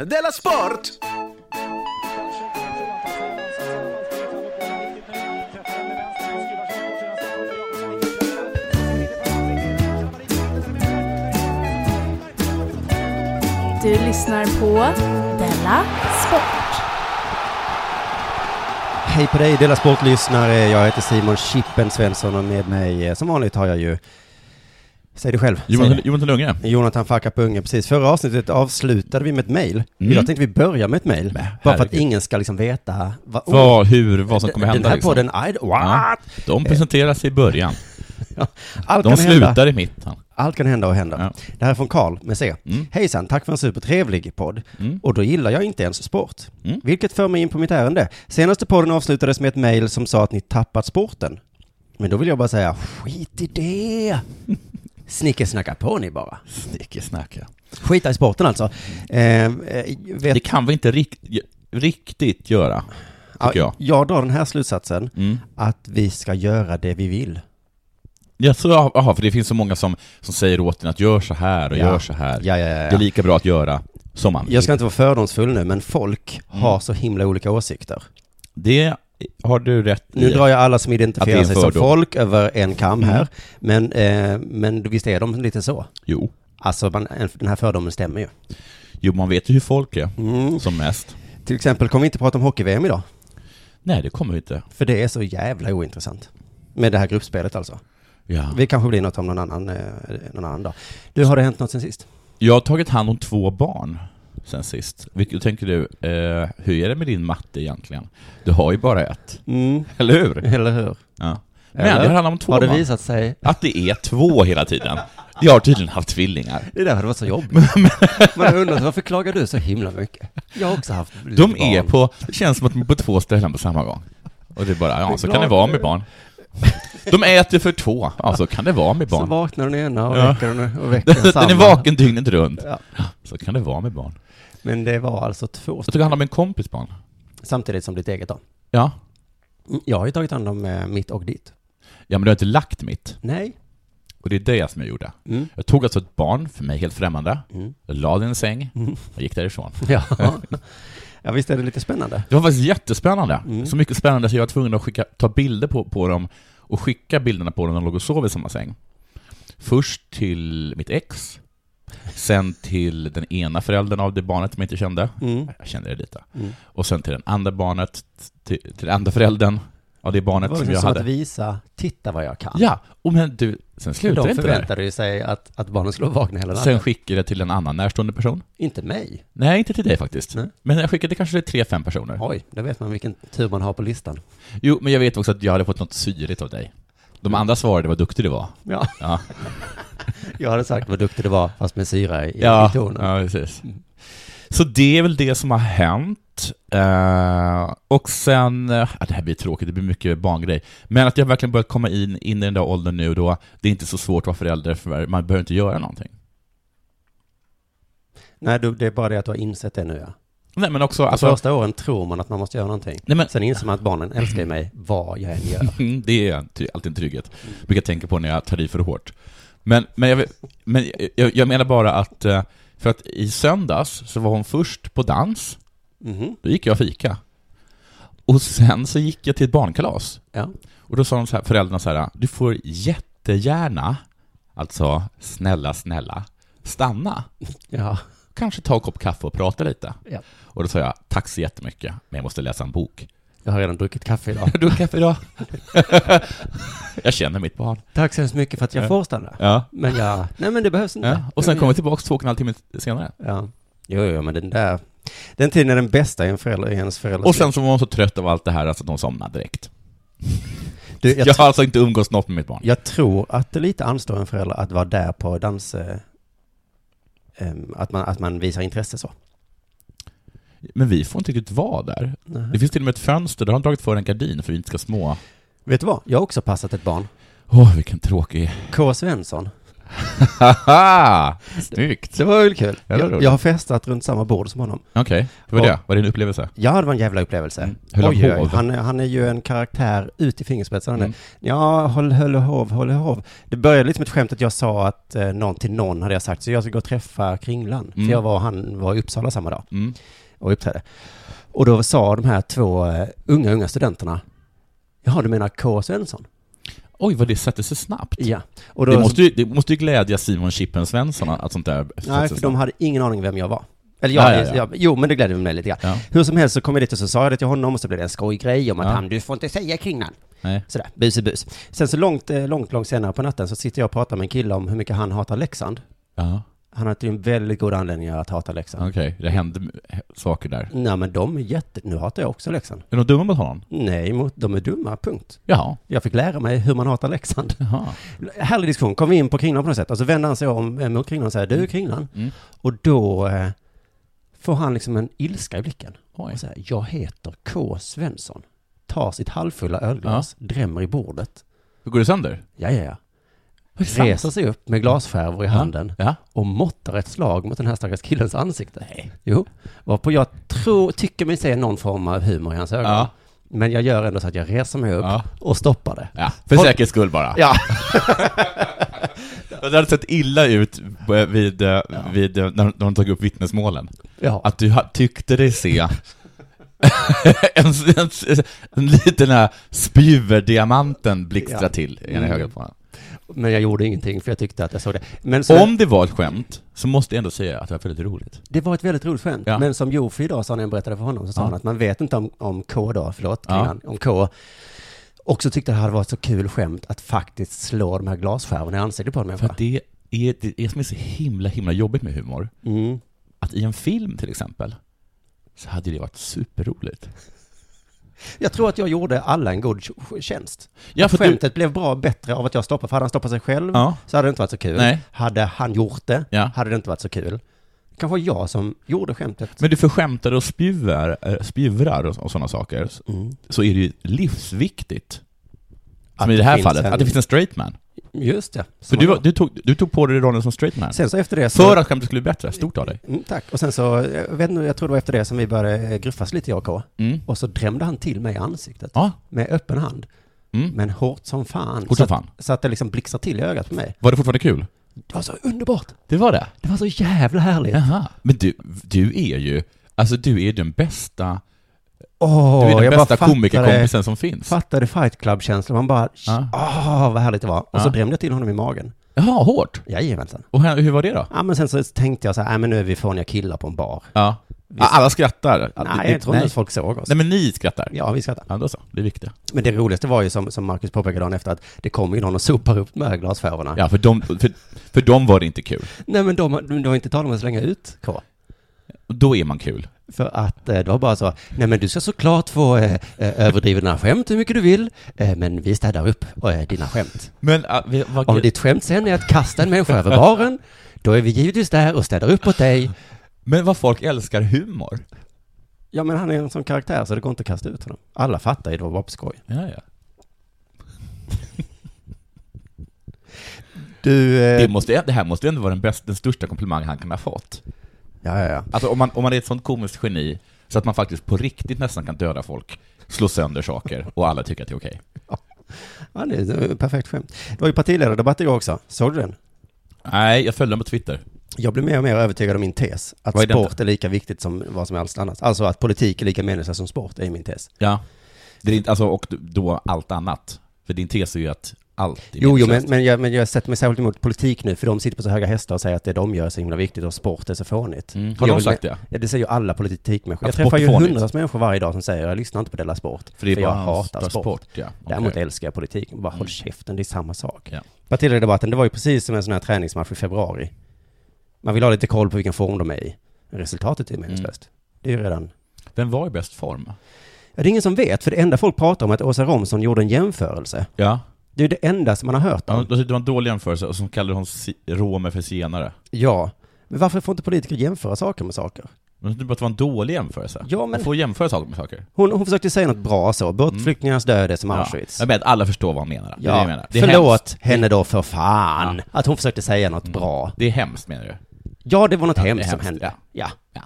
Della Sport! Du lyssnar på Della Sport. Hej på dig, Dela Sport-lyssnare. Jag heter Simon Chippen Svensson och med mig, eh, som vanligt, har jag ju... Säg det själv. Säg Johan, det. Jonathan Lundgren. Jonathan Fackapunge, precis. Förra avsnittet avslutade vi med ett mejl. Idag tänkte vi börja med ett mejl. Bara för att Mm. herregud. ingen ska liksom veta vad... Vad, hur, vad som kommer den, hända Den här liksom. podden, I, Ja, what? de presenteras i början. Allt De kan hända. slutar i mitten. Allt kan hända och hända. Ja. Det här är från Karl med C. Mm. Hejsan, tack för en supertrevlig podd. Mm. Och då gillar jag inte ens sport. Mm. Vilket för mig in på mitt ärende. Senaste podden avslutades med ett mejl som sa att ni tappat sporten. Men då vill jag bara säga, skit i det! Snickesnacka på ni bara. Snickesnacka. Skita i sporten alltså. Eh, eh, vet, Det kan vi inte rikt, riktigt göra, tycker jag. jag drar den här slutsatsen, Mm. att vi ska göra det vi vill. Ja, så, aha, för det finns så många som, som säger åt en att gör så här och Ja. gör så här. Ja, ja, ja, Det är ja. lika bra att göra som man vill. Jag ska inte vara fördomsfull nu, men folk Mm. har så himla olika åsikter. Det har du rätt Nu i. drar jag alla som Att det identifierar är en sig som fördom. Mm. folk över en kam här, men, eh, men visst är de lite så? Jo. Alltså, man, en- den här fördomen stämmer ju. jo, man vet ju hur folk är, Mm. som mest. Till exempel kommer vi inte prata om hockey-VM idag, Nej, det kommer vi inte. för det är så jävla ointressant. Med det här gruppspelet alltså. Ja. Vi kanske blir något om någon annan, eh, någon annan dag. Du, har det hänt något sen sist? Jag har tagit hand om två barn sen sist. Vilket tänker du, eh, hur är det med din matte egentligen? Du har ju bara ett, Mm, eller hur? eller hur? Ja. Men Eller? det handlar om två Har det barn. visat sig? Att det är två hela tiden. Jag har tydligen haft tvillingar. Det är därför det var så jobbigt. Man har undrat, varför klagar du så himla mycket? Jag har också haft lite De är barn. på, det känns som att de är på två ställen på samma gång. Och det är bara, ja så kan det vara med barn. De äter för två, ja så kan det vara med Så barn. vaknar den ena och Ja. väcker den, och väcker den Den är samma. vaken dygnet runt. Ja. Så kan det vara med barn. Men det var alltså två Jag tog hand om en kompis barn. Samtidigt som ditt eget då? Ja. Mm, Jag har ju tagit hand om eh, mitt och ditt. Ja men du har inte lagt mitt. Nej. Och det är det som jag gjorde. Mm. Jag tog alltså ett barn, för mig helt främmande, Mm. jag la det i en säng Mm. och gick därifrån. Ja. ja, visst är det lite spännande? Det var faktiskt jättespännande. Mm. Så mycket spännande så jag var tvungen att skicka, ta bilder på, på dem och skicka bilderna på dem när de låg och sov i samma säng. Först till mitt ex, sen till den ena föräldern av det barnet som jag inte kände. Mm. Jag kände det lite. Mm. Och sen till den andra barnet, till, till den andra föräldern av det Det barnet var som liksom jag som hade. att visa, titta vad jag kan. Ja, och men du, sen slutade De det inte där. förväntade ju sig att, att barnen skulle vakna hela natten. Sen skickade jag det till en annan närstående person. Inte mig. Nej, inte till dig faktiskt. Nej. Men jag skickade kanske till tre, fem personer. Oj, då vet man vilken tur man har på listan. Jo, men jag vet också att jag hade fått något syrligt av dig. De andra svarade vad duktig du var. Ja, Ja, jag hade sagt vad duktig du var, fast med syra i, ja, i tonen. ja precis. Så det är väl det som har hänt. Eh, och sen, eh, ah, det här blir tråkigt, det blir mycket barngrej. Men att jag verkligen börjat komma in, in i den där åldern nu då, det är inte så svårt att vara förälder, för man behöver inte göra någonting. Nej, du, det är bara det att du har insett det nu ja. Nej men också, De alltså, första åren tror man att man måste göra någonting. nej, men, Sen inser man att barnen älskar ju mig vad jag än gör. Mm, det är en ty- alltid en trygghet. Vilket jag tänker på när jag tar i för hårt. Men, men, jag, vet- men jag, jag menar bara att, eh, för att i söndags så var hon först på dans, Mhm. då gick jag och fika. Och sen så gick jag till ett barnkalas. Ja. Och då sa de så här, föräldrarna så här, du får jättegärna, alltså snälla, snälla, stanna. ja. Kanske ta en kopp kaffe och prata lite. Ja. Och då sa jag, tack så jättemycket, men jag måste läsa en bok. Jag har redan druckit kaffe idag. Har du kaffe idag? jag känner mitt barn. Tack så hemskt mycket för att jag Ja. får stanna. Ja. Men jag, nej men det behövs inte. Ja, och sen kommer jag tillbaka två och en halv timme senare. Ja. Jo, jo, men den där, den tiden är den bästa i en förälder, i ens förälders Och sen så var hon så trött av allt det här alltså att hon somnade direkt. liv. du, jag, Jag har alltså inte umgåtts något med mitt barn. jag tror att det lite anstår en förälder att vara där på dans, eh, em, att, man, att man visar intresse så. Men vi får inte riktigt vara där. Nej. Det finns till och med ett fönster, där har de dragit för en gardin för vi inte ska små. Vet du vad? Jag har också passat ett barn. Åh, vilken tråkig... K. Svensson. Haha! Snyggt! Det var väl kul. Ja, det var Jag, roligt. jag har festat runt samma bord som honom. Okej, hur var Ja. det? Var det en upplevelse? Ja, det var en jävla upplevelse. Mm. Höll han hov? han, är- han är ju en karaktär ut i fingerspetsarna Mm. nu. Ja, håll, höll och hov, håll och hov. Det började lite som ett skämt att jag sa att eh, någon till någon hade jag sagt, så jag ska gå och träffa Kringlan. Mm. För jag var, han var i Uppsala samma dag Mm. och uppträdde. Och då sa de här två eh, unga, unga studenterna, jaha, du menar K. Svensson? Oj, vad det satte sig snabbt. Ja. Och då, Det måste, ju, det måste ju glädja Simon Chippen Svensson att sånt där Nej, sätter för sig de snabbt. hade ingen aning vem jag var. Eller jag, Ja, ja, ja. Jag, jo, men det glädde mig lite grann. Ja. Hur som helst så kom jag dit och så sa jag det till honom och så blev det en skojgrej om att Ja. han, du får inte säga Kringlan. Nej. Sådär, bus i bus. Sen så långt, eh, långt, långt senare på natten så sitter jag och pratar med en kille om hur mycket han hatar Leksand. Ja, Han har tydligen väldigt god anledning att hata Leksand. okej. Det hände saker där. Nej men de är jätte... Nu hatar jag också Leksand. Är de dumma mot honom? Nej, mot, de är dumma, punkt. Jaha. Jag fick lära mig hur man hatar Leksand. Jaha. Härlig diskussion, kom vi in på Kringlan på något sätt. Och så vänder han sig om eh, mot Kringlan och säger du Kringlan. Mm. Och då eh, får han liksom en ilska i blicken. Oj. Och så här, jag heter K. Svensson. Tar sitt halvfulla ölglas, drämmer i bordet. Hur går det sönder? Ja, ja, ja. Vad är det sant? Reser sig upp med glasskärvor i handen Ja. och måttar ett slag mot den här stackars killens ansikte. Nej. Jo, varpå jag tror, tycker mig se någon form av humor i hans ögon. Ja. Men jag gör ändå så att jag reser mig upp Ja. och stoppar det. ja. För Håll- säkerhets skull bara. Ja, Det hade sett illa ut eh, vid, eh, vid, eh, när de- när de tog upp vittnesmålen. ja. Att du ha- tyckte dig se en, en, en liten här spjuverdiamanten blixtra Ja. till i ena Mm. högra pannan. men jag gjorde ingenting för jag tyckte att jag såg det. Men som, Om det var ett skämt, så måste jag ändå säga att det var väldigt roligt. det var ett väldigt roligt skämt. Ja. Men som Jofi idag sa när jag berättade för honom så sa Ja. han att man vet inte om, om K då, förlåt, Ja. kvinnan, om K. Också tyckte att det hade varit så kul skämt att faktiskt slå de här glasskärvorna i ansiktet på en För människa. att det är det är som är så himla, himla jobbigt med humor. Mm. Att i en film till exempel, så hade det varit superroligt. Jag tror att jag gjorde alla en god tj- tjänst. Ja, för att du, Skämtet blev bra bättre av att jag stoppade, för hade han stoppat sig själv Ja. så hade det inte varit så kul. Nej. Hade han gjort det Ja. hade det inte varit så kul. Kanske jag som gjorde skämtet. men du förskämtar och spjuver, eh, spjuvrar och, och sådana saker, så- Mm. så är det ju livsviktigt, Att som i det här finns fallet, en- att det finns en straight man. Just det. För Som du, man- var- du, tog, du tog på dig rollen som straight man. Sen så efter det så... För att skämtet skulle bli bättre. Stort av dig. Mm, tack. Och sen så, jag vet inte, jag tror det var efter det som vi började eh, gruffas lite jag och K. Mm. Och så drämde han till mig i ansiktet. Ja. Med öppen hand. Mm. Men hårt som fan. Hårt så, som fan. Att, så att det liksom blixtrar till i ögat på mig. Var det fortfarande kul? Det var så underbart. Det var det. Det var så jävla härligt. Jaha. Men du, du är ju, alltså du är den bästa, Åh, du är den jag bara bästa fattade- komikerkompisen som finns. fattade Fight Club-känslan. Man bara, Ja. ah vad härligt det var. Och så Ja. drämde jag till honom i magen. Jaha, hårt. Jajamensan. Och hur, hur var det då? Ja, men sen så tänkte jag så här, "Nej, men nu är vi fåniga killar på en bar. Ja. Ah, Alla skrattar. Nej, Det- det- jag tror inte ens folk såg oss. Nej, men ni skrattar. Ja. Ja, vi skrattade. då så. Det är viktigt. Men det roligaste var ju som, som Marcus påpekade dagen efter att det kom ju någon och sopar upp de här glasskärvorna. Ja, för dem, för, för dem var det inte kul. Nej, men de, de var inte tal om att slänga ut K. Och Då är man kul. För att eh, det var bara så, nej men du ska såklart få eh, eh, överdrivna skämt hur mycket du vill, eh, men vi städar upp eh, dina skämt. Men ah, vi- vad Om kul. ditt skämt sen är att kasta en människa över baren, då är vi givetvis där och städar upp åt dig. Men vad folk älskar humor. Ja, men han är en sån karaktär så det går inte att kasta ut honom. Alla fattar ju, det var bara på skoj. Ja, ja. Du... Det, Eh, måste, det här måste ju ändå vara den, bäst, den största komplimang han kan ha fått. ja, ja, ja. Alltså om man, om man är ett sånt komiskt geni så att man faktiskt på riktigt nästan kan döda folk, slå sönder saker och alla tycker att det är okej. ja det är ett perfekt skämt. Det var ju partiledardebatt igår också. Såg du den? Nej, jag följde dem på Twitter. Jag blir mer och mer övertygad om min tes. Att Vad är den sport är lika viktigt som vad som helst annat. Alltså att politik är lika meningslös som sport är min tes. Ja. Det är inte, alltså, och då allt annat. För din tes är ju att allt är Jo, jo, men, meningslöst. men, jag, men jag sätter mig särskilt emot politik nu, för de sitter på så höga hästar och säger att det de gör är så himla viktigt och sport är så fånigt. Mm. Har Jag de vill- sagt det? Ja, det säger ju alla politikmänniskor. Att Jag träffar sport är ju fånigt. hundratals människor varje dag som säger jag lyssnar inte på Della Sport, för, För det är jag bara hatar sport. ja. Däremot Okej. Mm. älskar jag politik. Bara håll käften, det är samma sak. Ja. Partiledardebatten, det var ju precis som en sån här träningsmatch i februari. Man vill ha lite koll på vilken form de är i. Resultatet är meningslöst. Mm. Det är ju redan Vem var i bäst form? Ja, det är ingen som vet, för det enda folk pratar om är att Åsa Romson gjorde en jämförelse. Ja. Det är det enda som man har hört ja om. då tyckte det var en dålig jämförelse, och så kallade hon si- romer för zigenare. Ja. Men varför får inte politiker jämföra saker med saker? Men jag tyckte bara att det var en dålig jämförelse. Ja, men- Man får Mm. jämföra saker med saker. Hon, hon försökte säga något bra så. Bortflyktingarnas död är som Auschwitz. Jag menar att alla förstår vad han menar. Det är det jag menar. Det är förlåt Hemskt. henne då för fan. Att hon försökte säga något bra. Det är hemskt menar du? Ja, det var något Ja, det är hemskt som hemskt, hände. Ja. Ja.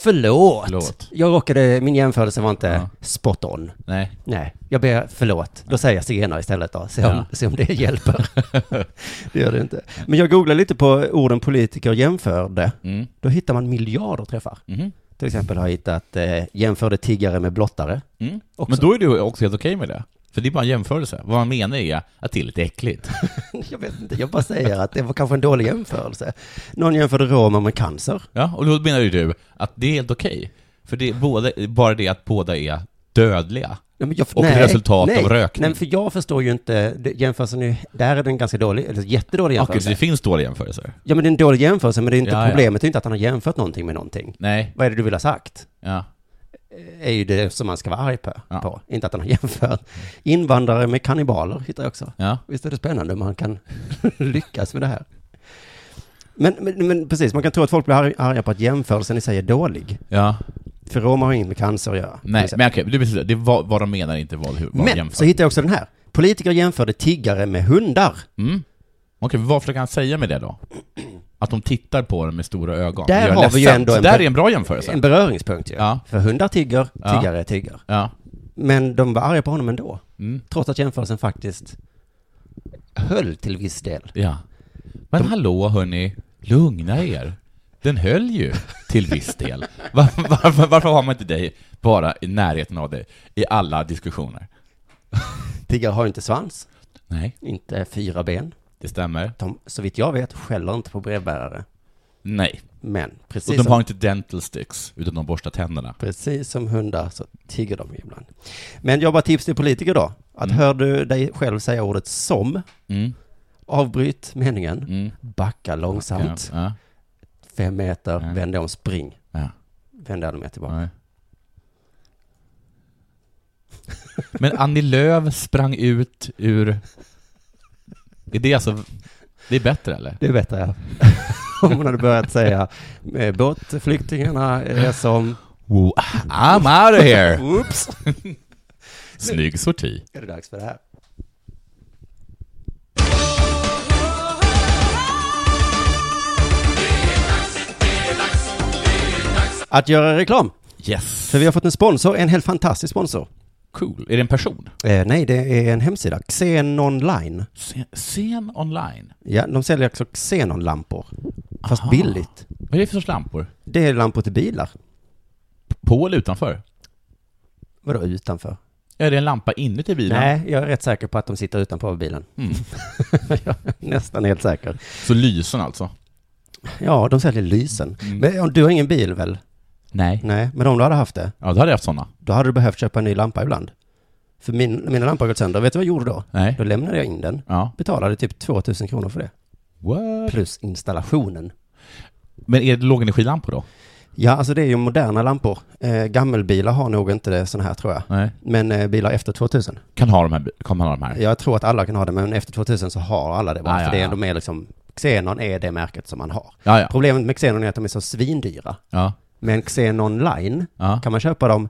Förlåt. Förlåt. Jag råkade, min jämförelse var inte Ja. spot on. Nej. Nej, jag ber förlåt. Då säger jag zigenare istället då. Se om, Ja. se om det hjälper. det gör det inte. Men jag googlade lite på orden politiker jämförde. Mm. Då hittar man miljarder träffar. Mhm. Till exempel har jag hittat eh, jämförde tiggare med blottare. Mm. Också. Men då är du också helt okej med det. För det är bara en jämförelse. Vad han menar är att det är lite äckligt. jag vet inte, jag bara säger att det var kanske en dålig jämförelse. Någon jämförde romer med cancer. Ja, och då menar ju du att det är helt okej. För det är båda, bara det att båda är dödliga. Nej, men jag, Och resultat nej, av rökning. Nej, men för jag förstår ju inte, det- jämförelsen är, där är den ganska dålig, eller jättedålig Ja, okay, jämförelse. det finns dåliga jämförelser. Ja men det är en dålig jämförelse, men det är inte, Ja, ja. problemet är inte att han har jämfört någonting med någonting. Nej. Vad är det du vill ha sagt? Ja. är ju det som man ska vara arg på. Ja. på. Inte att han har jämfört. Invandrare med kannibaler hittar jag också. Ja. Visst är det spännande om man kan lyckas med det här. Men, men, men precis, man kan tro att folk blir arg- arga på att jämförelsen i sig är dålig. Ja. För romer har inget med cancer att göra. Nej, Till exempel. men okej, det betyder- det var vad de menar, inte vad, hur, vad de men jämför. så hittade jag också den här. Politiker jämförde tiggare med hundar. Mm. Okej, vad försöker han säga med det då? Att de tittar på den med stora ögon. Där Gör har vi ju ledsen. ändå Så en- där är en bra jämförelse. En beröringspunkt ju. Ja. För hundar tigger, Ja. tiggare är tigger. Ja. Men de var arga på honom ändå. Mm. Trots att jämförelsen faktiskt höll till viss del. ja. Men hallå hörni, lugna er. Den höll ju till viss del. Var, varför, varför har man inte dig bara i närheten av dig i alla diskussioner? Tiggare har ju inte svans. Nej, Inte fyra ben. det stämmer. De, så vitt jag vet, skäller inte på brevbärare. Nej. Men Och precis, de har som, inte dental sticks, utan de borstar tänderna. precis som hundar så tigger de ju ibland. Men jag har bara tips till politiker då. Att Mm. hör du dig själv säga ordet som, Mm. avbryt meningen, Mm. backa långsamt, Ja. fem meter, Ja. vänd dig om, spring. Ja. Vänd dig aldrig mer tillbaka. Nej. Men Annie Lööf sprang ut ur... Är det alltså... Det är bättre eller? Det är bättre. Om hon hade börjat säga eh, båtflyktingarna är som... Wow, I'm out of here! Oops! Snygg sorti. Är det dags för det här? Att göra reklam. Yes. För vi har fått en sponsor, en helt fantastisk sponsor. Cool. Är det en person? Eh, nej, det är en hemsida. Xenon Online. Scen, scen online? Ja, de säljer också Xenon-lampor. Fast Aha. billigt. Vad är det för sorts lampor? Det är lampor till bilar. På eller utanför? Vadå utanför? Är det en lampa inuti bilen? Nej, jag är rätt säker på att de sitter utanpå bilen. Mm. jag är nästan helt säker. Så lysen alltså? Ja, de säljer lysen. Mm. Men om- du har ingen bil väl? Nej. Nej, men om du hade haft det, Ja, då hade jag haft sådana. då hade du behövt köpa en ny lampa ibland. För min, mina lampor har gått sönder. Vet du vad jag gjorde då? Nej. Då lämnade jag in den. Ja. Betalade typ 2000 kronor för det. What? Plus installationen. Men är det lågenergilampor då? Ja, alltså det är ju moderna lampor. Eh, gammelbilar har nog inte sådana här tror jag. Nej. Men eh, bilar efter 2000. Kan ha de här, kan man ha de här? Jag tror att alla kan ha det, men efter 2000 så har alla det bara. Ah, för ja, det är ja. ändå mer liksom, Xenon är det märket som man har. Ja, ja. Problemet med Xenon är att de är så svindyra. ja. Men Xenon Line ja. kan man köpa dem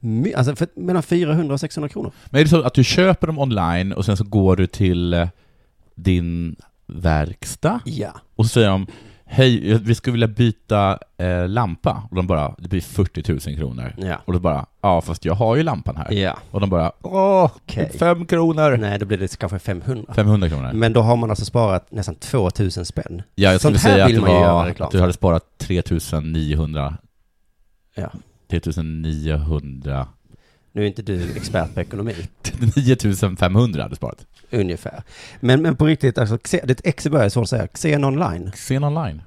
my- alltså för mellan 400 och 600 kronor. Men är det så att du köper dem online och sen så går du till eh, din verkstad Ja. och så säger de Hej, vi skulle vilja byta eh, lampa. Och de bara, det blir 40 000 kronor. Ja. Och då bara, ja fast jag har ju lampan här. Ja. Och de bara, åh, Okej. fem kronor! Nej, då blir det kanske 500. 500 kronor. Men då har man alltså sparat nästan 2000 spänn. ja, jag skulle sånt här säga att, vill det man ju var, göra reklam att du hade sparat 3900, Ja. 3900, Nu är inte du expert på ekonomi, 9500 hade du sparat. ungefär. Men, men på riktigt, alltså, Xe- det är ett X i början, så att säga, xenonline.se. Sen online.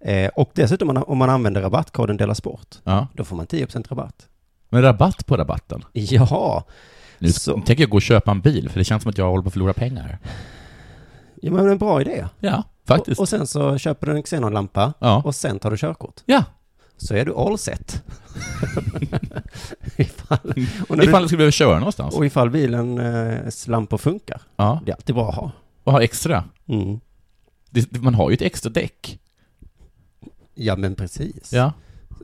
Eh, och dessutom om man- om man använder rabattkoden Dela Sport, Ja. då får man 10% rabatt. Men rabatt på rabatten. Ja, Nu Så. tänker jag gå och köpa en bil, för det känns som att jag håller på att förlora pengar. ja men en bra idé. Ja, faktiskt. Och, och sen så köper du en xenonlampa ja. och sen tar du körkort. ja. så är du all set. ifall, och, när Ifall du skulle behöva köra någonstans. du, och ifall bilen eh, lampor funkar. ja. Det är alltid bra att ha. Och ha extra. Mm. Det, det- man har ju ett extra däck. Ja men precis. Ja.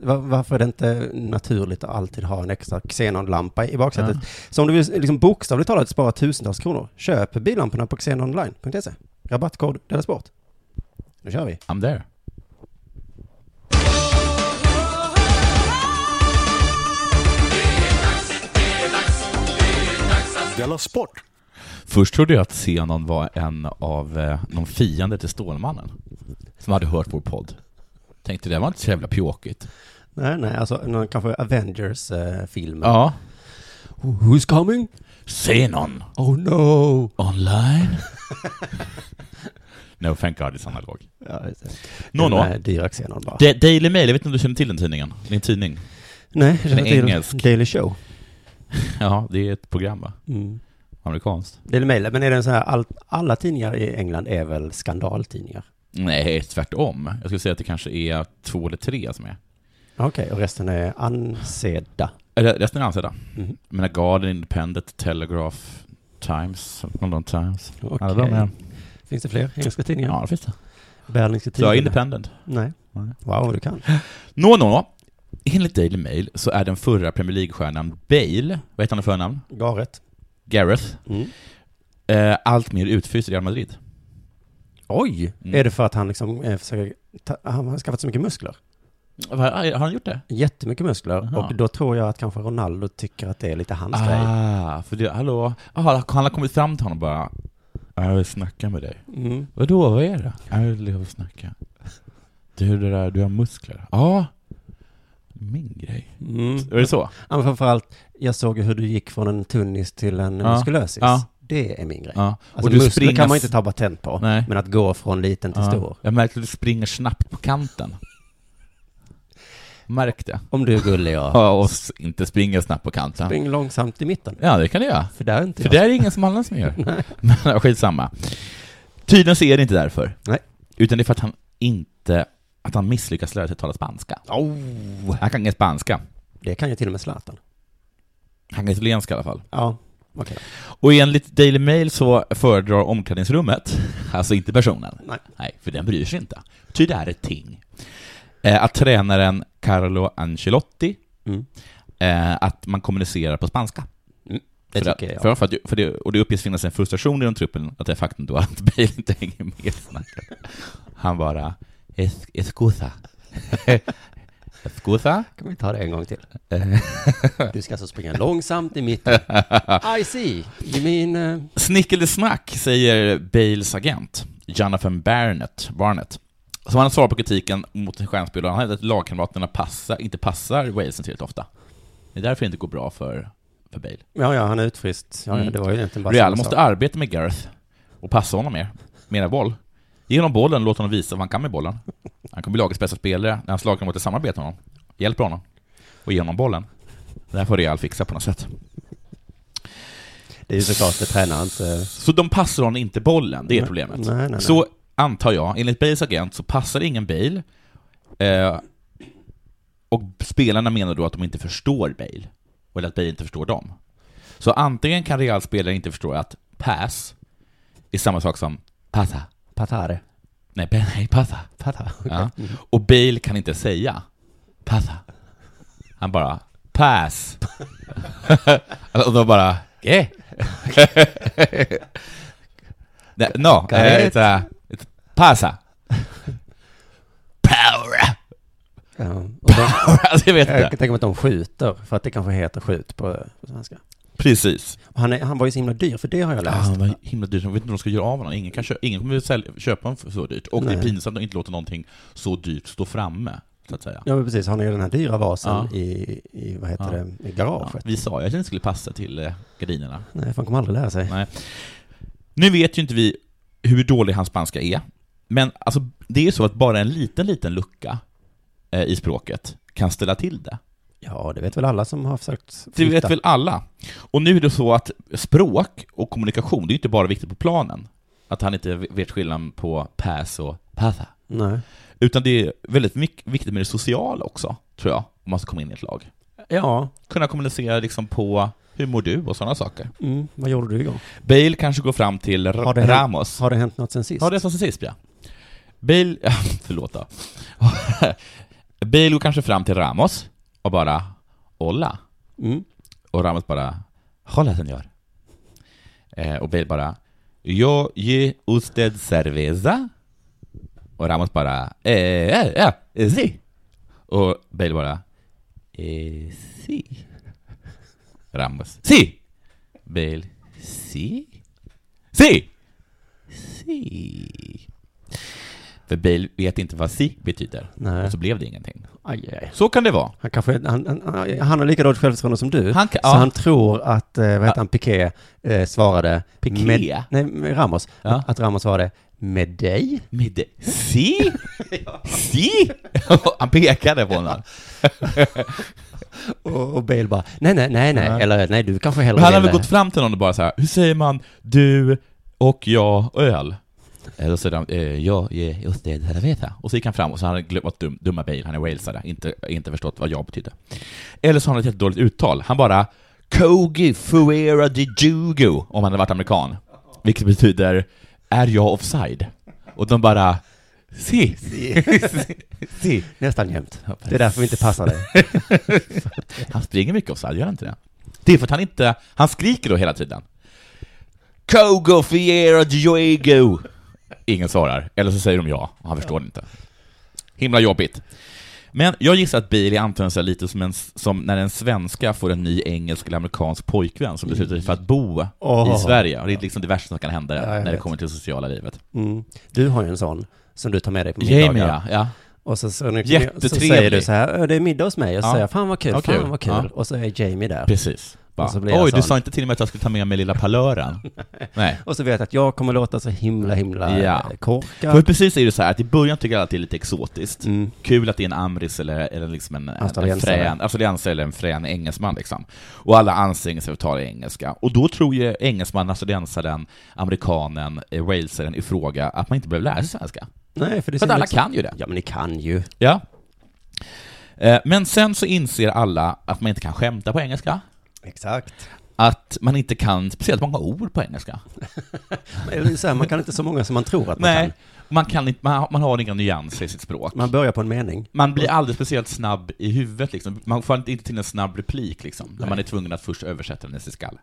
Va- Varför är det inte naturligt att alltid ha en extra xenonlampa i baksätet? Så om du vill liksom bokstavligt talat spara tusentals kronor, köp billamporna på xenonline.se. Rabattkod Della Sport. Nu kör vi. I'm there. Della Sport! Först trodde jag att Zenon var en av eh, någon fiende till Stålmannen som hade hört vår podd. Tänkte det var inte så jävla pjåkigt. Nej, nej, alltså någon kanske eh, Avengers-film. Ja. Who's coming? Zenon Oh no! online. no, thank God it's analog. Ja, just det. Nå, Den nå. här dyra xenon bara. Da- Daily Mail, jag vet inte om du känner till den tidningen? Det är en tidning. nej, jag den är känner till engelsk. Daily Show. Ja, det är ett program va? Mm. Amerikanskt? Daily Mail, men är det en sån här, all, alla tidningar i England är väl skandaltidningar? Nej, tvärtom. Jag skulle säga att det kanske är två eller tre som är. Okej, och resten är ansedda. Eller resten är ansedda. Mhm. Jag menar Guardian, Independent, Telegraph, Times, London Times. Okej. Alla de är. Finns det fler engelska tidningar? Ja, det finns det. Berlingske Så jag är Tidningar? Independent. Nej. Nej. Wow, du kan. Nå, nå, nå. Enligt Daily Mail så är den förra Premier League-stjärnan Bale, vad heter han i förnamn? Garet. Gareth, Mm. eh, allt mer utfryst i Real Madrid. Oj! Mm. Är det för att han liksom eh, försöker ta, han har skaffat så mycket muskler? Va, Har han gjort det? Jättemycket muskler. Aha. Och då tror jag att kanske Ronaldo tycker att det är lite hans grej. Ah, för det, hallå? Aha, han har kommit fram till honom och bara Jag vill snacka med dig. Mm. Vadå, vad är det? Jag vill leva och snacka. Du, det där, du har muskler. Ja. Min grej. Mm. Är det så? Ja, men framförallt, jag såg ju hur du gick från en tunnis till en Ja. muskulösis. Ja. Det är min grej. Ja. Alltså, och du muskler Ah. springer- kan man ju inte ta patent på. Nej. Ah. Men att gå från liten till stor. Jag märkte att du springer snabbt på kanten. Märk det. Om du är gullig, ja. Ja, och s- inte springer snabbt på kanten. Spring långsamt i mitten. Ja, det kan du göra. För där är inte För jag. det är ingen som annan som gör. Men skitsamma. Tydligen så är det inte därför. Nej. Utan det är för att han inte, att han misslyckas lära sig att tala spanska. Oh. Han kan ingen spanska. Det kan ju till och med Zlatan. Han kan italienska i alla fall. Ja, okej. Och enligt Daily Mail så föredrar omklädningsrummet, alltså inte personen, Nej. för den bryr sig inte. Ty det här är ett ting. Eh, att tränaren Carlo Ancelotti, Mm. eh, att man kommunicerar på spanska. Det för att, tycker jag. För, för att, för det, och det uppges finnas en frustration inom truppen att det är faktum då att Bale inte hänger med i snacket. Han bara "Es- ”Escusa”. ”Escusa”? Kan vi ta det en gång till? Eh, Du ska alltså springa långsamt i mitten. I see. You mean... eh, Snick eller snack, säger Bales agent, Jonathan Barnett, Barnett. Som han svarar på kritiken mot sin stjärnspelare. Han hävdar att lagkamraterna passar, inte passar Walesen tillräckligt ofta. Det är därför det inte går bra för, för Bale. ja, ja, han är utfryst. Ja, ja, Mm. det var ju egentligen bara Real samma måste sak. arbeta med Gareth och passa honom mer. Mera boll. Ge honom bollen, låt honom visa vad han kan med bollen. Han kommer bli lagets bästa spelare när hans lagkamrater samarbetar med honom. Hjälper honom. Och ge honom bollen. Det här får Real fixa på något sätt. Det är ju såklart, det tränar inte... Så de passar honom inte bollen, det är Nej, problemet. nej, nej, nej. Så antar jag, enligt Bales agent så passar ingen Bale. Eh, och spelarna menar då att de inte förstår Bale. Eller att Bale inte förstår dem. Så antingen kan Real spelare inte förstå att pass är samma sak som passa. Patare. Nej, pe- nej passa. Patare. Ja. Och Bale kan inte säga passa. Han bara pass. och då bara yeah. Nej, no, Got eh, it. it's a, it's passa. Power. Ja. Och de, alltså jag vet jag inte. kan tänka mig att de skjuter, för att det kanske heter skjut på, på svenska. Precis. Och han, är, han var ju så himla dyr, för det har jag Ja, läst. han var himla dyrt, de vet inte hur de ska göra av honom. Ingen, kan köpa, ingen kommer sälja, köpa honom för så dyrt. Och det är Nej. pinsamt att inte låta någonting så dyrt stå framme, så att säga. Ja, men precis. Han har ju den här dyra vasen Ja. i, i, vad heter Ja. det, i Ja, garaget. vi sa ju att det inte skulle passa till eh, gardinerna. Nej, för han kommer aldrig lära sig. Nej. Nu vet ju inte vi hur dålig hans spanska är, men alltså, det är ju så att bara en liten, liten lucka eh, i språket kan ställa till det. Ja, det vet väl alla som har försökt Det flytta. vet väl alla. Och nu är det så att språk och kommunikation, det är ju inte bara viktigt på planen. Att han inte vet skillnaden på pass och passa. Nej. Utan det är väldigt mycket, viktigt med det sociala också, tror jag, om man ska komma in i ett lag. Ja. Kunna kommunicera liksom på hur mår du och sådana saker. Mm. Vad gjorde du igår? Bale kanske går fram till R- Har det hänt- Ramos. Har det hänt något sen sist? Ja, det sa sist ja. Bale, förlåt då. Bale går kanske fram till Ramos och bara ”Hola” Mm. och Ramos bara ”Hola senor”. Eh, och Bale bara ”Yo ge usted cerveza” och Ramos bara ”Eh, eh, eh, si” och Bale bara ”Eh, si” Ramos ”Si” Bale ”Si” ”Si” ”Si” För Bale vet inte vad si betyder. Nej. Och så blev det ingenting. Aj, aj. Så kan det vara. Han kanske, han, han, han- han har lika dåligt självförtroende som du. Han kan- så ja. han tror att, eh, vad heter han, Piqué eh, svarade... Piqué? Med, nej, med Ramos. Ja. Att, att Ramos svarade med dig. Med det. Si! Si! Han pekade på honom. Och, och Bale bara, nej, nej, nej, nej. Ja. Eller nej, du kanske hellre Men han har väl vill- gått fram till någon och bara så här, hur säger man du och jag och öl? Eh, Då säger han, eh, jag är just det, det vet jag. Och så gick han fram och så hade han glömt, varit dum, dumma Bale, han är walesare, inte, inte förstått vad jag betydde. Eller så har han ett jättedåligt uttal, han bara Kogi Fuera de Jugo, om han hade varit amerikan. Vilket betyder, är jag offside? Och de bara, si, si, si. Nästan jämt. Det är därför vi inte passar dig. Han springer mycket offside, gör han inte det? Det är för att han inte, han skriker då hela tiden. Kogo Fiera Diego! Ingen svarar, eller så säger de ja, och han förstår inte. Himla jobbigt. Men jag gissar att Bailey använder sig lite som, en, som när en svenska får en ny engelsk eller amerikansk pojkvän som beslutar sig för att bo Åh. i Sverige. Och det är liksom det värsta som kan hända Ja, jag när det vet. kommer till det sociala livet. Mm. Du har ju en sån som du tar med dig på middagar. Jamie, ja. ja. Och så, så, så Jättetrevlig. säger du så här, "Ö, det är middag hos mig. Och så Ja. säger jag, fan vad kul, Ja, kul. fan vad kul. Ja. Och så är Jamie där. Precis. Bara, Och så blir jag Oj, du sån. sa inte till mig att jag skulle ta med mig lilla palören. Nej. Och så vet jag att jag kommer låta så himla, himla Ja. ja. korkad. För precis är det så här att i början tycker alla att det är lite exotiskt. Mm. Alltså, Kul att det är en amris eller, eller liksom en, en Australiensare. frän, australiensare eller en frän engelsman liksom. Och alla anstränger sig för att tala engelska. Och då tror ju engelsmannen, australiensaren, amerikanen, eh, walesaren i fråga att man inte behöver lära sig svenska. Nej, för det är För att så alla liksom- kan ju det. Ja, men ni kan ju. Ja. Eh, Men sen så inser alla att man inte kan skämta på engelska. Exakt. Att man inte kan speciellt många ord på engelska. Eller så här, man kan inte så många som man tror att man Nej, kan. man, kan inte, man, har- man har inga nyanser i sitt språk. Man börjar på en mening. Man blir aldrig speciellt snabb i huvudet, liksom. man får inte till en snabb replik, liksom, när man är tvungen att först översätta den i sin skall.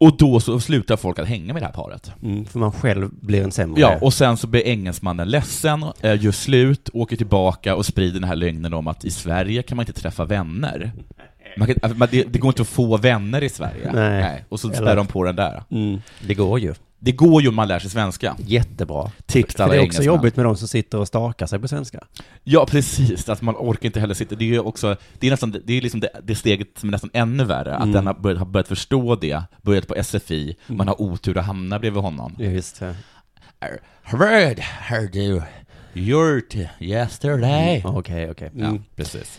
Och då så slutar folk att hänga med det här paret. Mm, för man själv blir en sämre. Ja, och sen så blir engelsmannen ledsen, eh, gör slut, åker tillbaka och sprider den här lögnen om att i Sverige kan man inte träffa vänner. Man kan, alltså, man, det, det går inte att få vänner i Sverige. Nej. Och så Eller- spär de på den där. Mm, det går ju. Det går ju om man lär sig svenska. Jättebra. Tips till För alla det är också engelsmän. jobbigt med de som sitter och stakar sig på svenska. Ja, precis. Att man orkar inte heller sitta. Det är ju också, det är nästan, det är liksom det, det steget som är nästan ännu värre, att den har börjat, har börjat förstå det, börjat på SFI, man har otur att hamna bredvid honom. Just det. Hörd, hör du, gjort yesterday. Okej, okej. Ja, Mm. precis.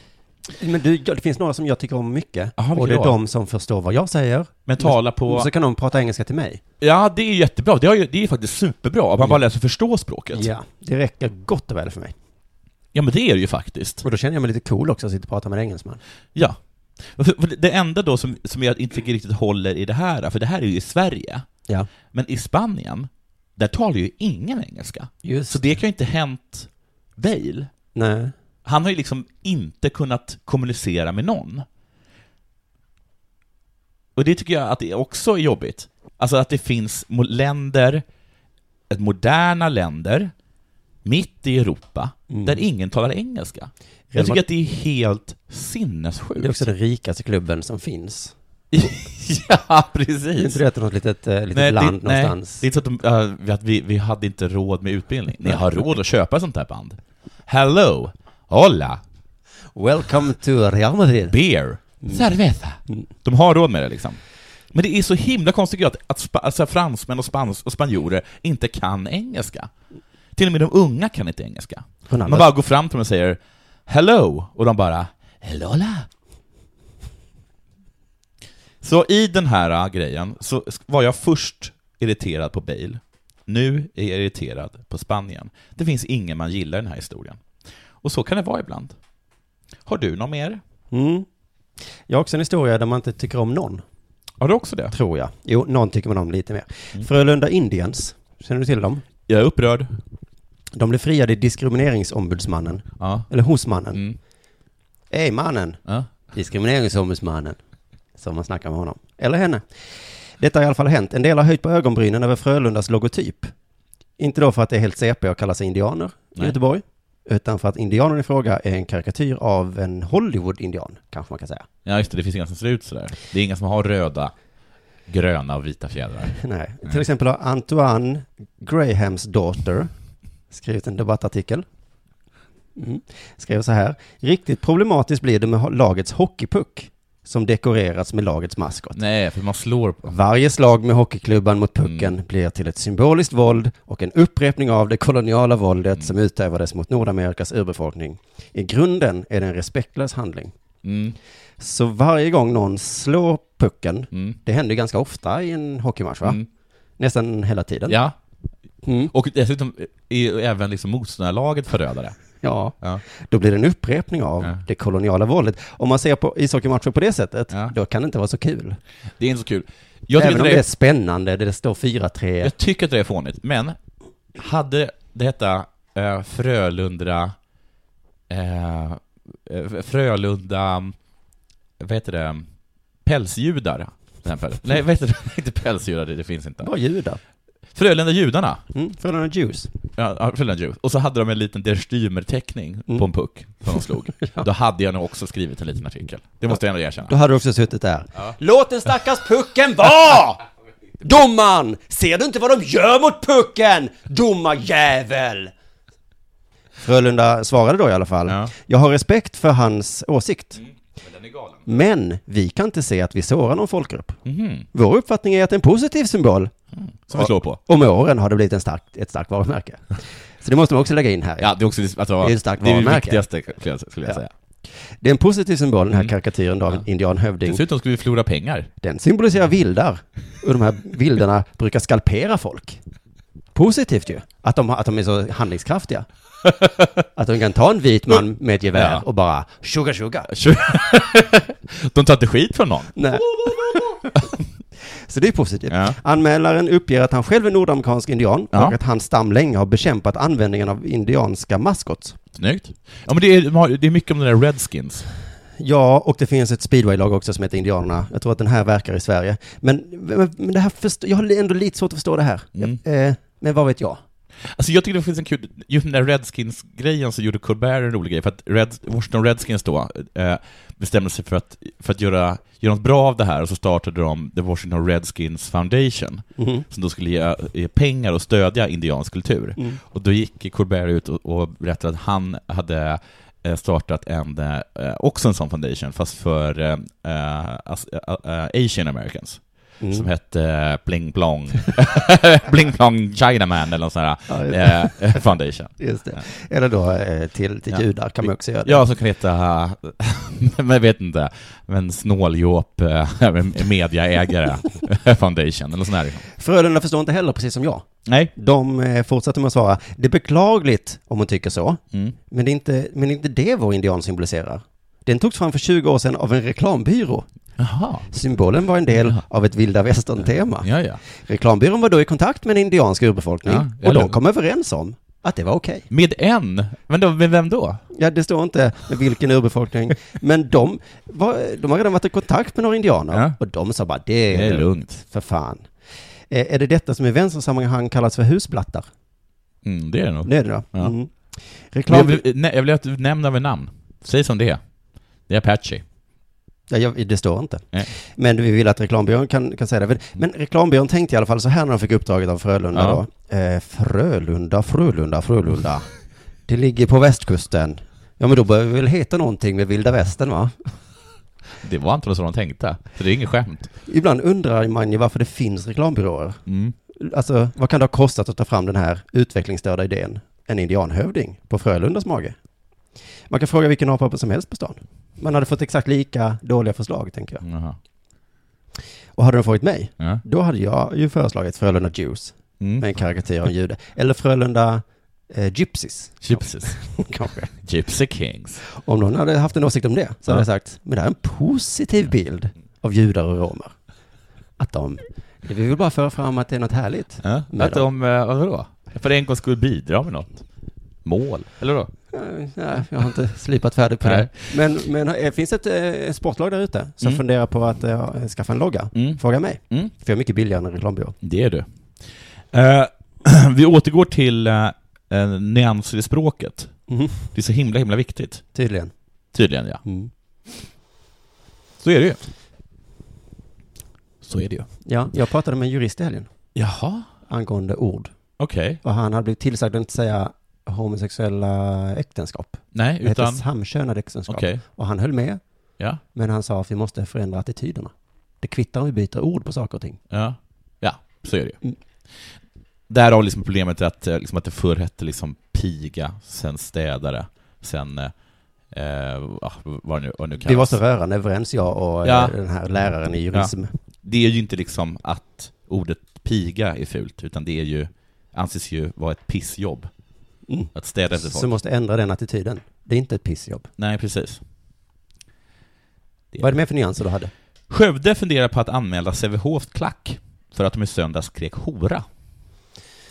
Men du, ja, det finns några som jag tycker om mycket. Jaha, vilka och det då? är de som förstår vad jag säger. Men tala på... Så kan de prata engelska till mig. Ja, det är ju jättebra. Det är ju det är faktiskt superbra, att man bara lär sig förstå språket. Ja, det räcker gott och väl för mig. Ja, men det är det ju faktiskt. Och då känner jag mig lite cool också, att sitta och prata med en engelsman. Ja. För- för Det enda då som, som jag inte tycker riktigt håller i det här, för det här är ju i Sverige, Ja, men i Spanien, där talar ju ingen engelska. just Så det kan ju inte hänt Bale. Nej. Han har ju liksom inte kunnat kommunicera med någon. Och det tycker jag att det också är jobbigt. Alltså att det finns mo- länder, ett moderna länder, mitt i Europa, där ingen talar engelska. Jag Mm. Real tycker Mad- att det är helt Det är sinnessjukt. också den rikaste klubben som finns. ja, Det är precis. inte det att det är något litet, eh, litet land nej, någonstans? det är inte så att, de, äh, att vi, vi hade inte råd med utbildning. Ni har råd att köpa sånt här band. Hello! Hola! Welcome to Real Madrid. Beer! Cerveza! De har råd med det liksom. Men det är så himla konstigt tycker jag, att, att spa, alltså, fransmän och, spans, och spanjorer inte kan engelska. Till och med de unga kan inte engelska. Man Ronaldo. bara går fram till dem och säger ”Hello” och de bara ”Hellola”. Så i den här äh, grejen så sk- var jag först irriterad på Bale. Nu är jag irriterad på Spanien. Det finns ingen man gillar i den här historien. Och så kan det vara ibland. Har du någon mer? Mm. Jag har också en historia där man inte tycker om någon, Har du också det? tror jag. Mm. Jo, någon tycker man om lite mer. Frölunda Indians, känner du till dem? Jag är upprörd. De blev friade i diskrimineringsombudsmannen, Ja. eller hos mannen. Mm. Ej mannen, Ja. diskrimineringsombudsmannen, som man snackar med honom. Eller henne. Detta har i alla fall hänt. En del har höjt på ögonbrynen över Frölundas logotyp. Inte då för att det är helt CP att kalla sig indianer Nej. i Göteborg, utan för att indianen i fråga är en karikatyr av en Hollywood-indian, kanske man kan säga. ja, just det, det finns inga som ser ut sådär. Det är inga som har röda, gröna och vita fjädrar. Nej. Till Nej. exempel har Antoine Grahams daughter skrivit en debattartikel. Mm. Skrev så här. Riktigt problematiskt blir det med ho- lagets hockeypuck som dekorerats med lagets maskot. Nej, för man slår på... Varje slag med hockeyklubban mot pucken Mm. blir till ett symboliskt våld och en upprepning av det koloniala våldet Mm. som utövades mot Nordamerikas urbefolkning. I grunden är det en respektlös handling. Mm. Så varje gång någon slår pucken, Mm. det händer ju ganska ofta i en hockeymatch va? Mm. Nästan hela tiden. Ja, Mm. och dessutom är ju även liksom motståndarlaget förrädare. ja. Ja. Då blir det en upprepning av Ja. det koloniala våldet. Om man ser på ishockeymatcher på det sättet, Ja. då kan det inte vara så kul. Det är inte så kul. Jag tycker, Även inte om det det är är, spännande, det står 4-3. jag tycker att det är fånigt, men hade det hette eh, Frölunda... Eh, eh, Frölunda... Vad heter det? Pälsjudar, till exempel. Nej, vad heter det? Inte pälsjudar, det det finns inte. Bara judar. Frölunda judarna. Mm. Frölunda Jews. Ja, ja, Frölunda Jews. Och så hade de en liten derstymerteckning Mm. på en puck som de slog. Då hade jag nog också skrivit en liten artikel. Det måste jag ändå erkänna. Då hade du också suttit där. Ja. Låt den stackars pucken vara! Domaren! Ser du inte vad de gör mot pucken? Domarjävel! Frölunda svarade då i alla fall. Ja. Mm. Jag har respekt för hans åsikt. Men den är galen. Men vi kan inte se att vi sårar någon folkgrupp. Mhm. Vår uppfattning är att det är en positiv symbol. Som vi slår på. Och med åren har det blivit en stark, ett starkt varumärke. Så det måste man också lägga in här. Ja, det är också alltså, Det är ett starkt det, är det varumärke. viktigaste, skulle jag, skulle jag Ja. säga. Det är en positiv symbol, den här Mm. karikatyren av en indianhövding. Dessutom skulle vi förlora pengar. Den symboliserar vildar. Och de här vildarna brukar skalpera folk. Positivt ju. Att de, att de är så handlingskraftiga. Att de kan ta en vit man med ett gevär Ja. och bara tjoga tjoga. De tar inte skit från någon. Nej. Så det är positivt. Ja. Anmälaren uppger att han själv är nordamerikansk indian Ja. och att hans stam länge har bekämpat användningen av indianska maskots. Snyggt. Ja, men det är, de har- det är mycket om de där Redskins. Ja, och det finns ett speedwaylag också som heter Indianerna. Jag tror att den här verkar i Sverige. Men, men, men det här först- jag har ändå lite svårt att förstå det här. Mm. Eh, men vad vet jag? Alltså jag tycker det finns en kul, just den där Redskins-grejen så gjorde Colbert en rolig grej, för att Red, Washington Redskins då eh, bestämde sig för att, för att göra, göra något bra av det här, och så startade de The Washington Redskins Foundation, Mhm. som då skulle ge, ge pengar och stödja indiansk kultur. Mm. Och då gick Colbert ut och, och berättade att han hade eh, startat en, eh, också en sån foundation, fast för eh, eh, as, eh, eh, Asian Americans. Mm. Som hette eh, Bling Blong, Bling Blong Chinaman eller någon sån här Ja, just det. eh, eh, foundation. Just det. Eller då eh, till, till Ja. judar kan man också göra det. Ja, som kan heta, men jag vet inte, men snåljåp eh, mediaägare foundation eller något sånt här. liksom. Frölunda förstår inte heller, precis som jag. Nej. De eh, fortsätter med att svara, det är beklagligt om hon tycker så, Mm. men det är inte, men det, är inte det vår indian symboliserar. Den togs fram för 20 år sedan av en reklambyrå. Jaha. Symbolen var en del av ett vilda västern-tema. Ja, ja. Reklambyrån var då i kontakt med en indiansk urbefolkning Ja, och eller- de kom överens om att det var okej. Med en? Men då, med vem då? Ja, det står inte med vilken urbefolkning, men de, var, de har redan varit i kontakt med några indianer Ja. och de sa bara det är, Det är lugnt. lugnt. För fan. Eh, är det detta som i vänstersammanhang kallas för husblattar? Mm, det är det nog. Det är det då. Ja. Mm. Men jag, Reklam... vill, nej, jag vill att du nämner med namn. Säg som det är. Det är Apache. Ja, jag, det står inte. Nej. Men vi vill att reklambyrån kan, kan säga det. Men- Men reklambyrån tänkte i alla fall så här när de fick uppdraget av Frölunda Ja. då. Eh, Frölunda, Frölunda, Frölunda. Det ligger på västkusten. Ja, men då bör vi väl heta någonting med vilda västern, va? Det var antagligen så de tänkte. Så det är inget skämt. Ibland undrar man ju varför det finns reklambyråer. Mm. Alltså, vad kan det ha kostat att ta fram den här utvecklingsstörda idén? En indianhövding på Frölundas mage. Man kan fråga vilken apa som helst på stan. Man hade fått exakt lika dåliga förslag, tänker jag. Jaha. Och hade de frågat mig, Ja. då hade jag ju föreslagit Frölunda Jews med Mm. en karikatyr av en jude. Eller Frölunda eh, Gypsies, Gypsies. kanske. Gypsy Kings. Om någon hade haft en åsikt om det, så hade Ja. jag sagt, men det här är en positiv bild av judar och romer. Att de, vi vill bara föra fram att det är något härligt. Ja. Med Att de, eh, vadå? Jag får en gång skulle bidra med något. Mål, eller då? Eh, Nej, jag har inte slipat färdigt på det. Nej. Men, men eh, finns ett eh, sportlag där ute som Mm. funderar på att eh, skaffa en logga? Mm. Fråga mig. Mm. För jag är mycket billigare än en reklambyrå. Det är du. Eh, vi återgår till eh, eh, nyanser i språket. Mhm. Det är så himla, himla viktigt. Tydligen. Tydligen, ja. Mm. Så är det ju. Så är det ju. Ja, jag pratade med en jurist i helgen Jaha, angående ord. okej. Och han hade blivit tillsagd att inte säga homosexuella äktenskap. Nej, Det heter utan... samkönade äktenskap. Okej, Och han höll med, ja. men han sa att vi måste förändra attityderna. Det kvittar om vi byter ord på saker och ting. Ja, ja så är det ju. Mm. Därav liksom problemet är att, eh, liksom att det förr hette liksom piga, sen städare, sen... eh, Eh, ah, vad det nu, vad det nu Vi var kallas. så rörande överens, jag och eh, Ja. den här läraren i jurism. Det är ju inte liksom att ordet piga är fult, utan det är ju, anses ju vara ett pissjobb. Mm. Att städa efter folk. Så måste ändra den attityden. Det är inte ett pissjobb. Nej, precis. Vad är det mer för nyanser du hade? Skövde funderar på att anmäla Sävehofs klack för att de i söndags skrek hora.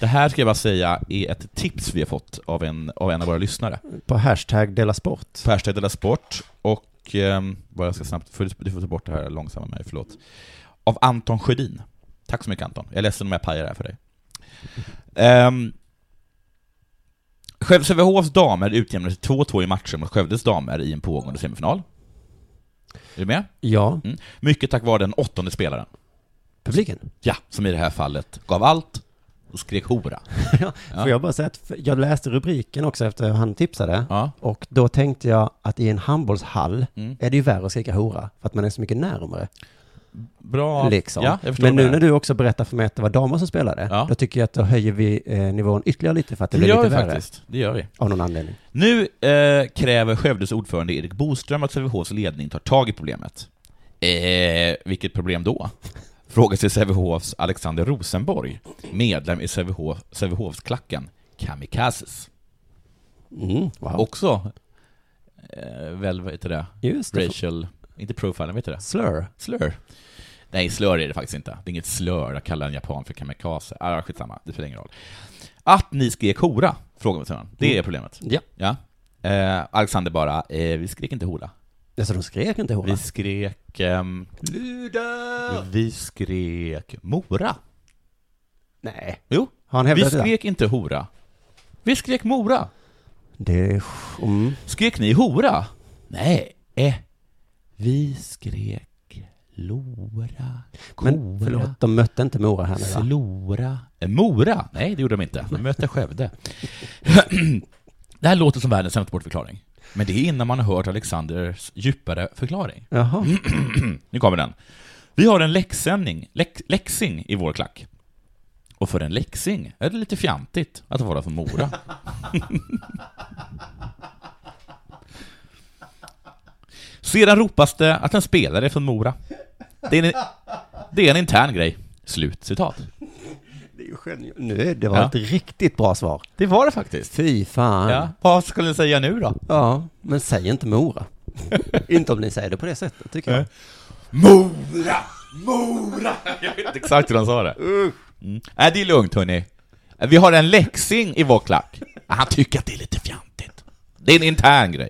Det här ska jag bara säga är ett tips vi har fått av en av, en av våra lyssnare. På hashtag Della Sport. Färsted eller Sport och, ehm, bara jag ska snabbt, för, du får ta bort det här långsamma med mig, förlåt. Av Anton Sjödin. Tack så mycket Anton, jag är ledsen om jag pajar det här för dig. Um, Sävehofs damer utjämnade till 2-2 i matchen mot Skövdes damer i en pågående semifinal. Är du med? Ja, Mm. Mycket tack vare den åttonde spelaren. publiken. Ja, som i det här fallet gav allt och skrek hora. ja. Ja. Får jag bara säga att f- jag läste rubriken också efter han tipsade. Ja. Och då tänkte jag att i en handbollshall Mm. är det ju värre att skrika hora, för att man är så mycket närmare. Bra. liksom. Ja, jag förstår Men vad nu menar. när du också berättar för mig att det var damer som spelade, Ja. då tycker jag att då höjer vi eh, nivån ytterligare lite för att det, det blir gör vi lite värre. faktiskt. Det gör vi. Av någon anledning. Nu eh, kräver Skövdes ordförande Erik Boström att Sävehofs ledning tar tag i problemet. Eh, vilket problem då? Frågar sig Sävehofs Alexander Rosenborg, medlem i Sävehof, Sävehofsklacken Kamikazes. Mm, wow. Också, eh, väl, vad heter det? Just det. Racial, inte profiling, vad heter det? Slur. Slur? Nej, slur är det faktiskt inte. Det är inget slur att kalla en japan för kamikaze. Ah, skitsamma, det spelar ingen roll. Att ni skrek hora, frågar man sig. Det är Mm. problemet. Ja. Ja. Eh, Alexander bara, eh, vi skrek inte hora. Alltså de skrek inte hora. Vi skrek... ehm, Vi skrek mora. Nej. Jo, Har han vi hävdat det? där? skrek inte hora. Vi skrek mora. Det är... Mm. Skrek ni hora? Nej. Eh. Vi skrek lora, kora. Men förlåt, de mötte inte Mora här nu va? Slora. Eh, Mora? Nej, det gjorde de inte. De mötte Skövde. det här låter som världens sämsta bortförklaring. Men det är innan man har hört Alexanders djupare förklaring. Jaha. Nu kommer den. Vi har en läxsändning, läx, läxing i vår klack. Och för en läxing är det lite fjantigt att vara från Mora. Sedan ropas det att en spelare är från Mora. Det är en, det är en intern grej. Slut citat. Det är ju genialt. Nu, är- det var Ja. ett riktigt bra svar. Det var det faktiskt. Fy fan. Ja. Ja, Vad skulle ni säga nu då? men säg inte Mora. inte om ni säger det på det sättet, tycker jag. Mora! Mora! Jag vet inte exakt hur han sa det. Mm. Nej, det är lugnt hörni. Äh, Vi har en läxing i vår klack. Äh, Han tycker att det är lite fjantigt. Det är en intern grej.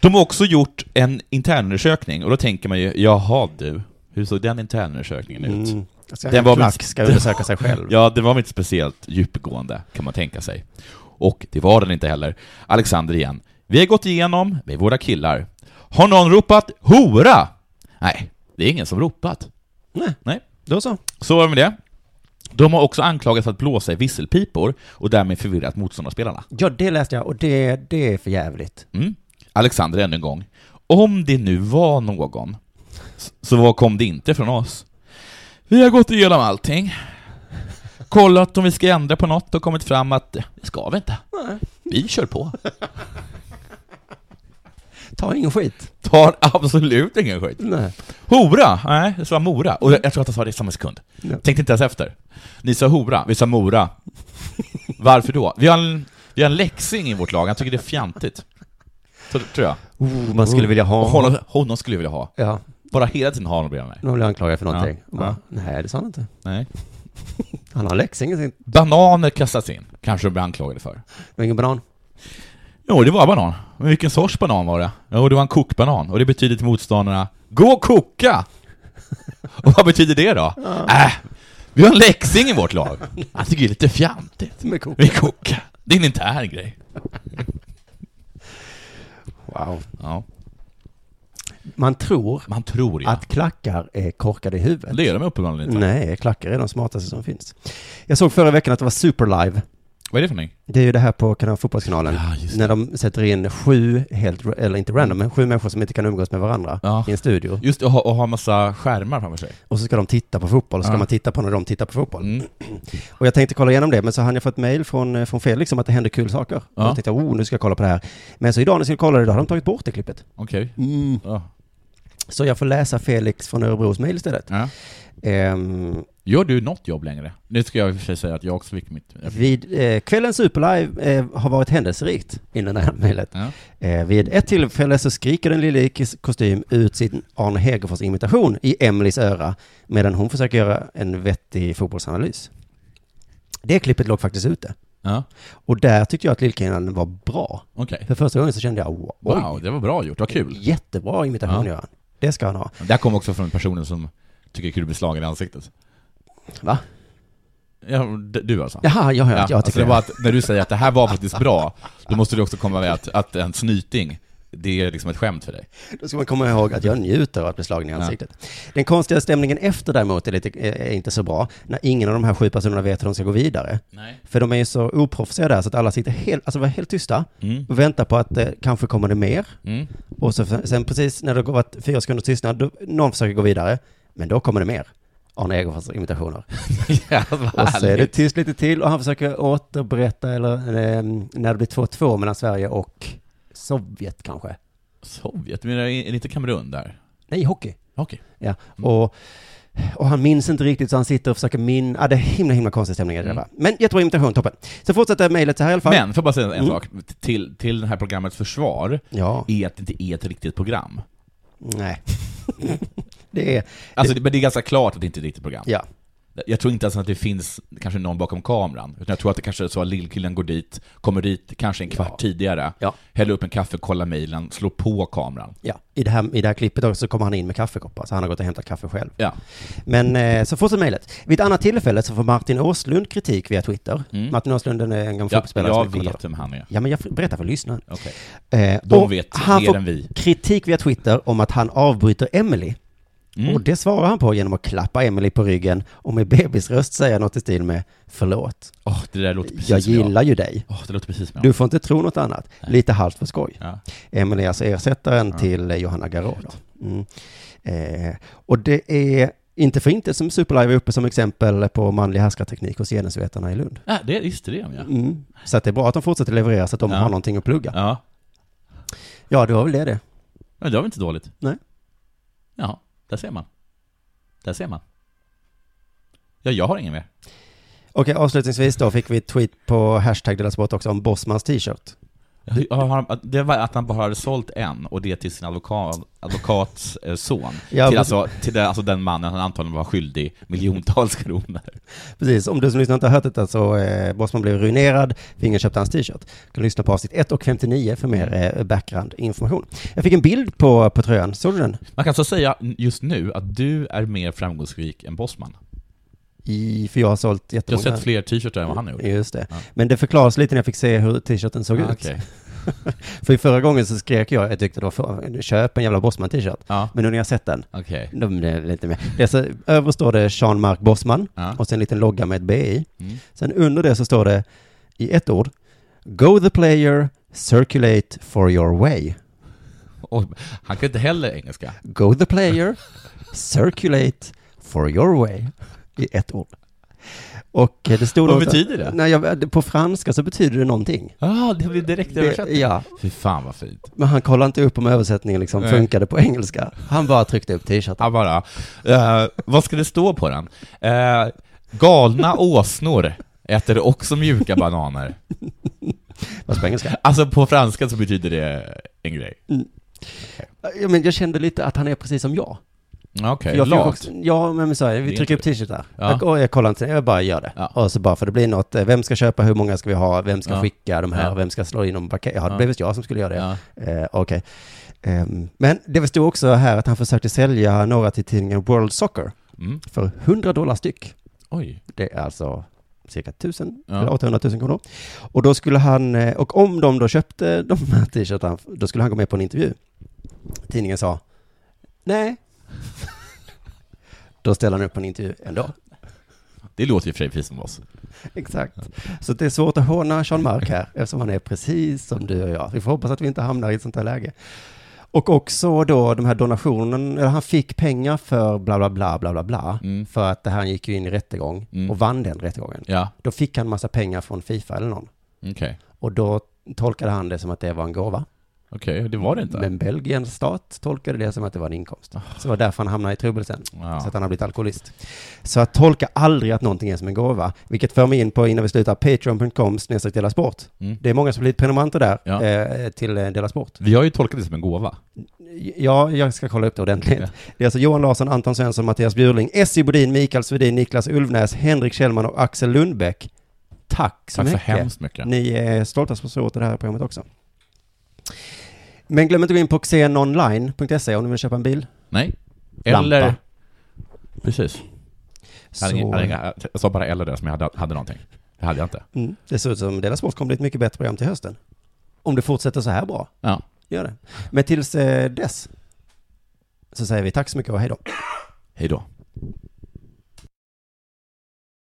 De har också gjort en internundersökning och då tänker man ju, jaha du, hur såg den internundersökningen ut? Mm. Alltså, Den en var klack väl- ska undersöka sig själv. Ja, det var väl inte speciellt djupgående, kan man tänka sig. Och det var den inte heller. Alexander igen. Vi har gått igenom med våra killar. Har någon ropat ”hora”? Nej, det är ingen som ropat. Nej. Nej. Då så. Så var det med det. De har också anklagats för att blåsa i visselpipor och därmed förvirrat motståndarspelarna. Ja, det läste jag och det, det är för jävligt. Mm. Alexander ännu en gång. Om det nu var någon, s- så var kom det inte från oss? Vi har gått igenom allting, kollat om vi ska ändra på något och kommit fram att eh, det ska vi inte. Vi kör på. Ta ingen skit. Tar absolut ingen skit. Nej. Hora? Nej, det sa Mora. Och jag jag tror att han sa det i samma sekund. Ja. Tänkte inte ens efter. Ni sa hora, vi sa Mora. Varför då? Vi har en, vi har en läxing i vårt lag, han tycker det är fjantigt. Så, tror jag. Oh, man skulle vilja ha Och honom, honom skulle jag vilja ha. Ja, Bara hela tiden ha honom bredvid mig. någon blir anklagad för någonting. Ja. Bara, Ja. Nej, det sa han inte. Nej. Han har Leksingen sin. Bananer kastas in, kanske de blir anklagade för. Det var ingen banan. Jo, det var banan. Men vilken sorts banan var det? Jo, det var en kokbanan. Och det betyder till motståndarna, gå och koka! och vad betyder det då? Äh, vi har en läxing i vårt lag. Han tycker det är lite fjantigt. Med kok. Vi kokar. Det är en intern grej. Wow. Ja, Man tror man tror ju. att klackar är korkade i huvudet. Det gör de uppenbarligen inte. Nej, klackar är de smartaste som finns. Jag såg förra veckan att det var Superlive. Vad är det för någonting? Det är ju det här på kanal, Fotbollskanalen. Ja, just när de sätter in sju, helt, eller inte random, men sju människor som inte kan umgås med varandra Ja. i en studio. Just det, och ha, och ha massa skärmar framför sig. Och så ska de titta på fotboll, och så ska Ja. man titta på när de tittar på fotboll. Mm. Och jag tänkte kolla igenom det, men så hann jag fått mejl från, eh, från Felix om att det händer kul saker. Ja. Och jag tänkte, oh, nu ska jag kolla på det här. Men så idag när jag skulle kolla det, då hade de tagit bort det klippet. Okej. Ja. Så jag får läsa Felix från Örebros mejl istället. Ja. Ehm, Gör du något jobb längre? Nu ska jag i och för sig säga att jag också fick mitt... jag fick- vid eh, kvällens Superlive eh, har varit händelserikt innan det här mejlet. Ja. Eh, vid ett tillfälle så skriker den lille i kis- kostym ut sin Arne Hegerfors imitation i Emelies öra medan hon försöker göra en vettig fotbollsanalys. Det klippet låg faktiskt ute. ja. Och där tyckte jag att Lillkillen var bra. Okej. För första gången så kände jag, wow, Wow, det var bra gjort. Vad kul. jättebra imitation Ja. Göran. Det ska han ha. Det här kom också från personen som tycker kul att bli slagen i ansiktet. Va? Ja, d- du alltså? Jaha, jag hör Ja, att jag alltså tycker det var att när du säger att det här var faktiskt bra, då måste du också komma med att, att en snyting, det är liksom ett skämt för dig. Då ska man komma ihåg att jag njuter av att bli slagen i ansiktet. Den konstiga stämningen efter däremot är, lite, är inte så bra, när ingen av de här sju personerna vet hur de ska gå vidare. Nej. För de är ju så oproffsiga där, så att alla sitter helt, alltså var helt tysta Mm. och väntar på att eh, kanske kommer det mer. Mm. Och så, sen precis när det har varit fyra sekunder tystnad, då, någon försöker gå vidare, men då kommer det mer. Arne Egerfors imitationer. ja, vad Och så är det härligt. tyst lite till och han försöker återberätta eller eh, när det blir 2-2 mellan Sverige och Sovjet kanske. Sovjet, men är det inte Kamerun där? Nej, hockey. Okej. Ja. Mm. Och, och han minns inte riktigt så han sitter och försöker min... Ah, det är himla, himla konstig stämning i det där, va? Men jättebra imitation, toppen. Så fortsätter mejlet så här i alla fall. Mm. Men, får jag bara säga en Mm. sak, till, till det här programmets försvar, Ja, är att det inte är ett riktigt program. nej. det är... Alltså, det, men det är ganska klart att det inte är ett riktigt program. Ja. Jag tror inte ens att det finns kanske någon bakom kameran, utan jag tror att det kanske är så att lillkillen går dit, kommer dit kanske en kvart Ja. tidigare, Ja. häller upp en kaffe, kollar mejlen, slår på kameran. Ja, i det, här, i det här klippet också så kommer han in med kaffekoppar, så han har gått och hämtat kaffe själv. Ja. Men eh, så fortsätter mejlet. Vid ett annat tillfälle så får Martin Åslund kritik via Twitter. Mm. Martin Åslund den är en gammal Ja, fotbollsspelare. som är jag kommentator. vet vem han är. Ja, men jag berättar för lyssnaren. Okej. Eh, De och vet han mer får än vi. kritik via Twitter om att han avbryter Emily. Mm. Och det svarar han på genom att klappa Emily på ryggen och med bebisröst säga något i stil med förlåt, Åh, det där låter precis jag som gillar ju dig. Åh, det låter precis som Du får inte tro något annat. Lite halvt för skoj. Ja. Emily är alltså ersättaren till eh, Johanna Garot. Mm. Eh, och det är inte för inte som Superlive är uppe som exempel på manlig härskarteknik hos genusvetarna i Lund. Ja, Ah, det visste det, ja. Mm. Så att det är bra att de fortsätter leverera så att de Ja. har någonting att plugga. ja. Ja, det var väl det det. Men det var väl inte dåligt? Nej. Ja, där ser man. Där ser man. Ja, jag har ingen mer. Okej, avslutningsvis då fick vi ett tweet på hashtag Della Sport också om Bossmans t-shirt. Jag har- att- Det var att han bara hade sålt en, och det till sin advokat, advokats eh, son. Ja, till precis. alltså, till den, alltså den mannen han antagligen var skyldig miljontals kronor. Precis, om du som lyssnar inte har hört detta så eh, Bossman blev ruinerad, för ingen köpte hans t-shirt. Du kan lyssna på avsnitt 1 och 59 för Mm. mer eh, background-information. Jag fick en bild på, på tröjan, såg du den? Man kan så säga just nu att du är mer framgångsrik än Bosman. I, för jag har sålt Jag jättemånga. har sett fler t-shirtar än vad han har gjort. Just det. Ja. Men det förklaras lite när jag fick se hur t-shirten såg Ah, ut. okej. För i förra gången så skrek jag, jag tyckte då, för, köp en jävla Bossman t-shirt. Ja, Men nu när jag sett den, okej. då blir det lite mer. Det är så, över står det Jean-Marc Bossman Ja. och sen en liten logga med ett B i. Mm. Sen under det så står det i ett ord Go the player, circulate for your way. Oj, han kan inte heller engelska. Go the player, circulate for your way. I ett ord. Och eh, det stod Vad också- betyder det? Nej, jag, på franska så betyder det någonting. Ah, det blir direkt översatt. Det- ja, Fy fan vad fint. men han kollade inte upp om översättningen liksom Nej. funkade på engelska. Han bara tryckte upp t-shirten. Han bara, eh, vad ska det stå på den? Eh, galna åsnor äter också mjuka bananer. Fast på engelska. Alltså på franska så betyder det en grej. Ja, men jag kände lite att han är precis som jag. Ja, Okej, jag fick lat. också- ja, men så här, Det är vi trycker upp inte t-shirtar. Ja. Jag, och jag kollar inte, jag bara gör det. Ja. Och så bara för det blir något, eh, vem ska köpa, hur många ska vi ha, vem ska Ja. skicka de här, Ja. vem ska slå in dem på paket. Ja, det Ja. blev visst jag som skulle göra det. Ja. Eh, Okej. Ehm, men det stod också här att han försökte sälja några till tidningen World Soccer Mm. för 100 dollar styck. Oj. Det är alltså cirka 1000 Ja. eller 800 000 kronor. Och då skulle han, eh, och om de då köpte de här t-shirtarna, då skulle han gå med på en intervju. Tidningen sa, nej. då ställer han upp på en intervju ändå. Det låter ju i och för sig precis som oss. Exakt. Så det är svårt att håna Sean Mark här, eftersom han är precis som du och jag. Vi får hoppas att vi inte hamnar i ett sånt här läge. Och också då de här donationen, eller han fick pengar för bla bla bla bla bla bla, Mm. för att det här gick ju in i rättegång Mm. och vann den rättegången. Ja, Då fick han massa pengar från Fifa eller någon. okej. Och då tolkade han det som att det var en gåva. Okej, det var det inte. Men Belgiens stat tolkade det som att det var en inkomst. Så det var därför han hamnade i trubbel sen. Ja. Så att han har blivit alkoholist. Så att tolka aldrig att någonting är som en gåva. Vilket för mig in på, innan vi slutar, patreon.com snedstreck Dela Sport. Mm. Det är många som har blivit prenumeranter där, Ja. eh, till eh, Dela Sport. Vi har ju tolkat det som en gåva. Ja, jag ska kolla upp det ordentligt. Ja. Det är alltså Johan Larsson, Anton Svensson, Mattias Bjurling, Essie Bodin, Mikael Svedin, Niklas Ulvnäs, Henrik Kjellman och Axel Lundbäck. Tack så Tack så mycket. hemskt mycket. Ni är stolta sponsorer till det här programmet också. Men glöm inte att gå in på xenonline.se om ni vill köpa en bil. Nej. Lampa. Eller... Precis. Jag, hade, Så- inga- jag, hade, inga- jag sa bara eller där som jag hade, hade någonting. Det hade jag inte. Mm. Det ser ut som Dela Sport kommer bli ett mycket bättre program till hösten. Om det fortsätter så här bra, Ja. gör det. Men tills eh, dess så säger vi tack så mycket och hej då. Hej då.